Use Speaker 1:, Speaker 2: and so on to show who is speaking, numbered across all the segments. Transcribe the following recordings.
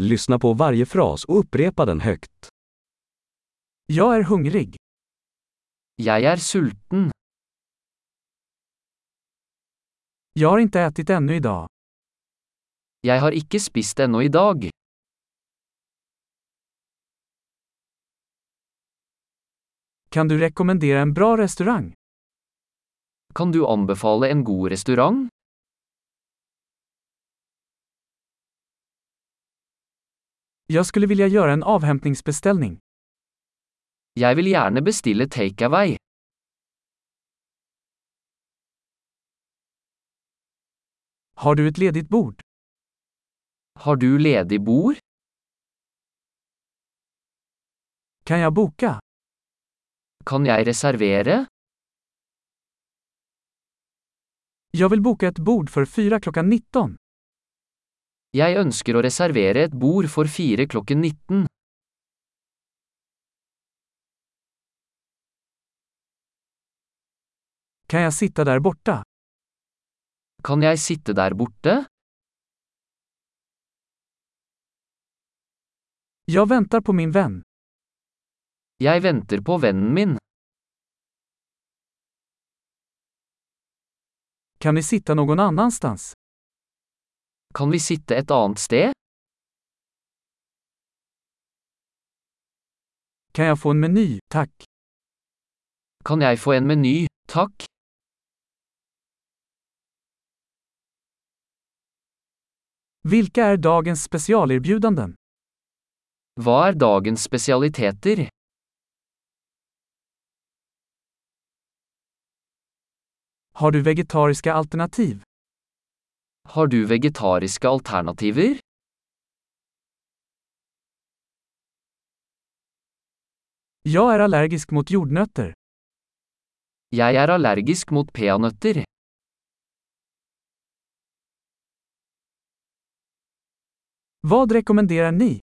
Speaker 1: Lyssna på varje fras och upprepa den högt. Jag är hungrig.
Speaker 2: Jeg er sulten.
Speaker 1: Jag har inte ätit ännu idag.
Speaker 2: Jeg har ikke spist ennå i dag.
Speaker 1: Kan du rekommendera en bra restaurang?
Speaker 2: Kan du anbefale en god restaurant?
Speaker 1: Jag skulle vilja göra en avhämtningsbeställning.
Speaker 2: Jeg vil gjerne bestille takeaway.
Speaker 1: Har du ett ledigt bord?
Speaker 2: Har du ledig bord?
Speaker 1: Kan jag boka?
Speaker 2: Kan jeg reservere?
Speaker 1: Jag vill boka ett bord för fyra klockan 19.
Speaker 2: Jeg ønsker å reservere et bord for fire klokken 19.
Speaker 1: Kan jag sitta där borta?
Speaker 2: Kan jeg sitte der borte?
Speaker 1: Jag väntar på min vän.
Speaker 2: Jeg venter på vennen min.
Speaker 1: Kan vi sitta någon annanstans?
Speaker 2: Kan vi sitte et annet sted?
Speaker 1: Kan jag få en meny, tack?
Speaker 2: Kan jeg få en meny, takk?
Speaker 1: Vilka är dagens specialerbjudanden?
Speaker 2: Hva er dagens spesialiteter?
Speaker 1: Har du vegetariska alternativ?
Speaker 2: Har du vegetariske alternativer?
Speaker 1: Jag är allergisk mot jordnötter.
Speaker 2: Jeg er allergisk mot peanøtter.
Speaker 1: Vad rekommenderar ni?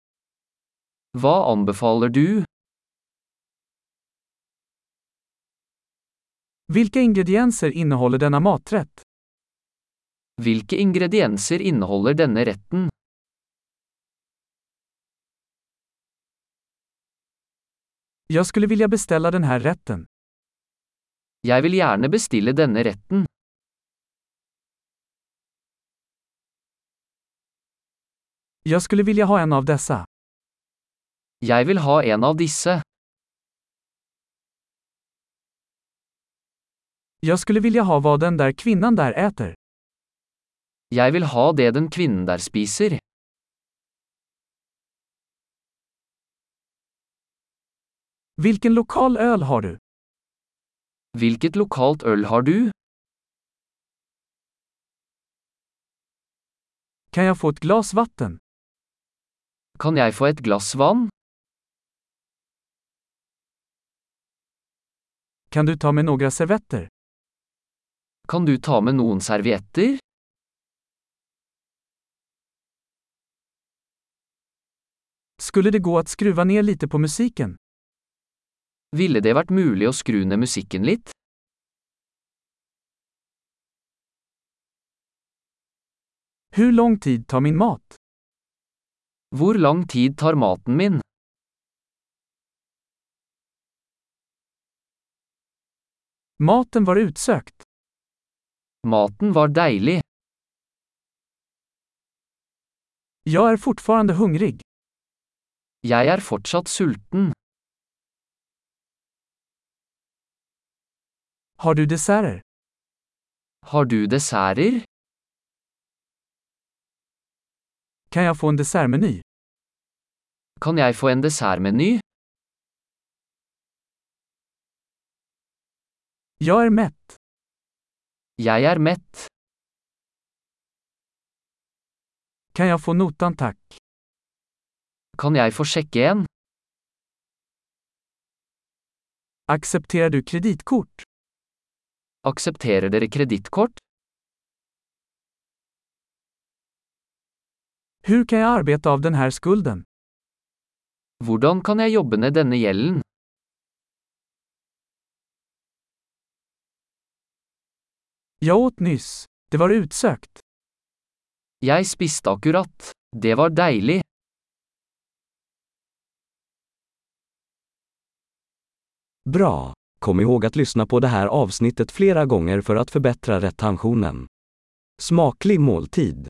Speaker 2: Hva anbefaler du?
Speaker 1: Vilka ingredienser innehåller denna maträtt?
Speaker 2: Hvilke ingredienser inneholder denne retten?
Speaker 1: Jag skulle vilja beställa den här rätten.
Speaker 2: Jeg vil gjerne bestille denne retten.
Speaker 1: Jag skulle vilja ha en av dessa.
Speaker 2: Jeg vil ha en av disse.
Speaker 1: Jag skulle vilja ha vad den där kvinnan där äter.
Speaker 2: Jeg vil ha det den kvinnen der spiser.
Speaker 1: Vilken lokal öl har du?
Speaker 2: Hvilket lokalt øl har du?
Speaker 1: Kan jag få ett glas vatten?
Speaker 2: Kan jeg få et glass vann?
Speaker 1: Kan du ta med några servetter?
Speaker 2: Kan du ta med noen servietter?
Speaker 1: Skulle det gå att skruva ner lite på musiken?
Speaker 2: Ville det vært mulig å skru ned musikken litt?
Speaker 1: Hur lång tid tar min mat?
Speaker 2: Hvor lang tid tar maten min?
Speaker 1: Maten var utsökt.
Speaker 2: Maten var deilig.
Speaker 1: Jag är fortfarande hungrig.
Speaker 2: Jeg er fortsatt sulten.
Speaker 1: Har du desserter?
Speaker 2: Har du desserter?
Speaker 1: Kan jag få en dessertmeny?
Speaker 2: Kan jeg få en dessertmeny?
Speaker 1: Jag är mätt.
Speaker 2: Jeg er mett.
Speaker 1: Kan jag få notan tack?
Speaker 2: Kan jeg få sjekke en?
Speaker 1: Accepterar du kreditkort?
Speaker 2: Aksepterer dere kredittkort?
Speaker 1: Hur kan jag arbeta av den här skulden?
Speaker 2: Hvordan kan jeg jobbe ned denne gjelden?
Speaker 1: Jag åt nyss. Det var utsökt.
Speaker 2: Jeg spiste akkurat. Det var deilig.
Speaker 1: Bra! Kom ihåg att lyssna på det här avsnittet flera gånger för att förbättra retentionen. Smaklig måltid!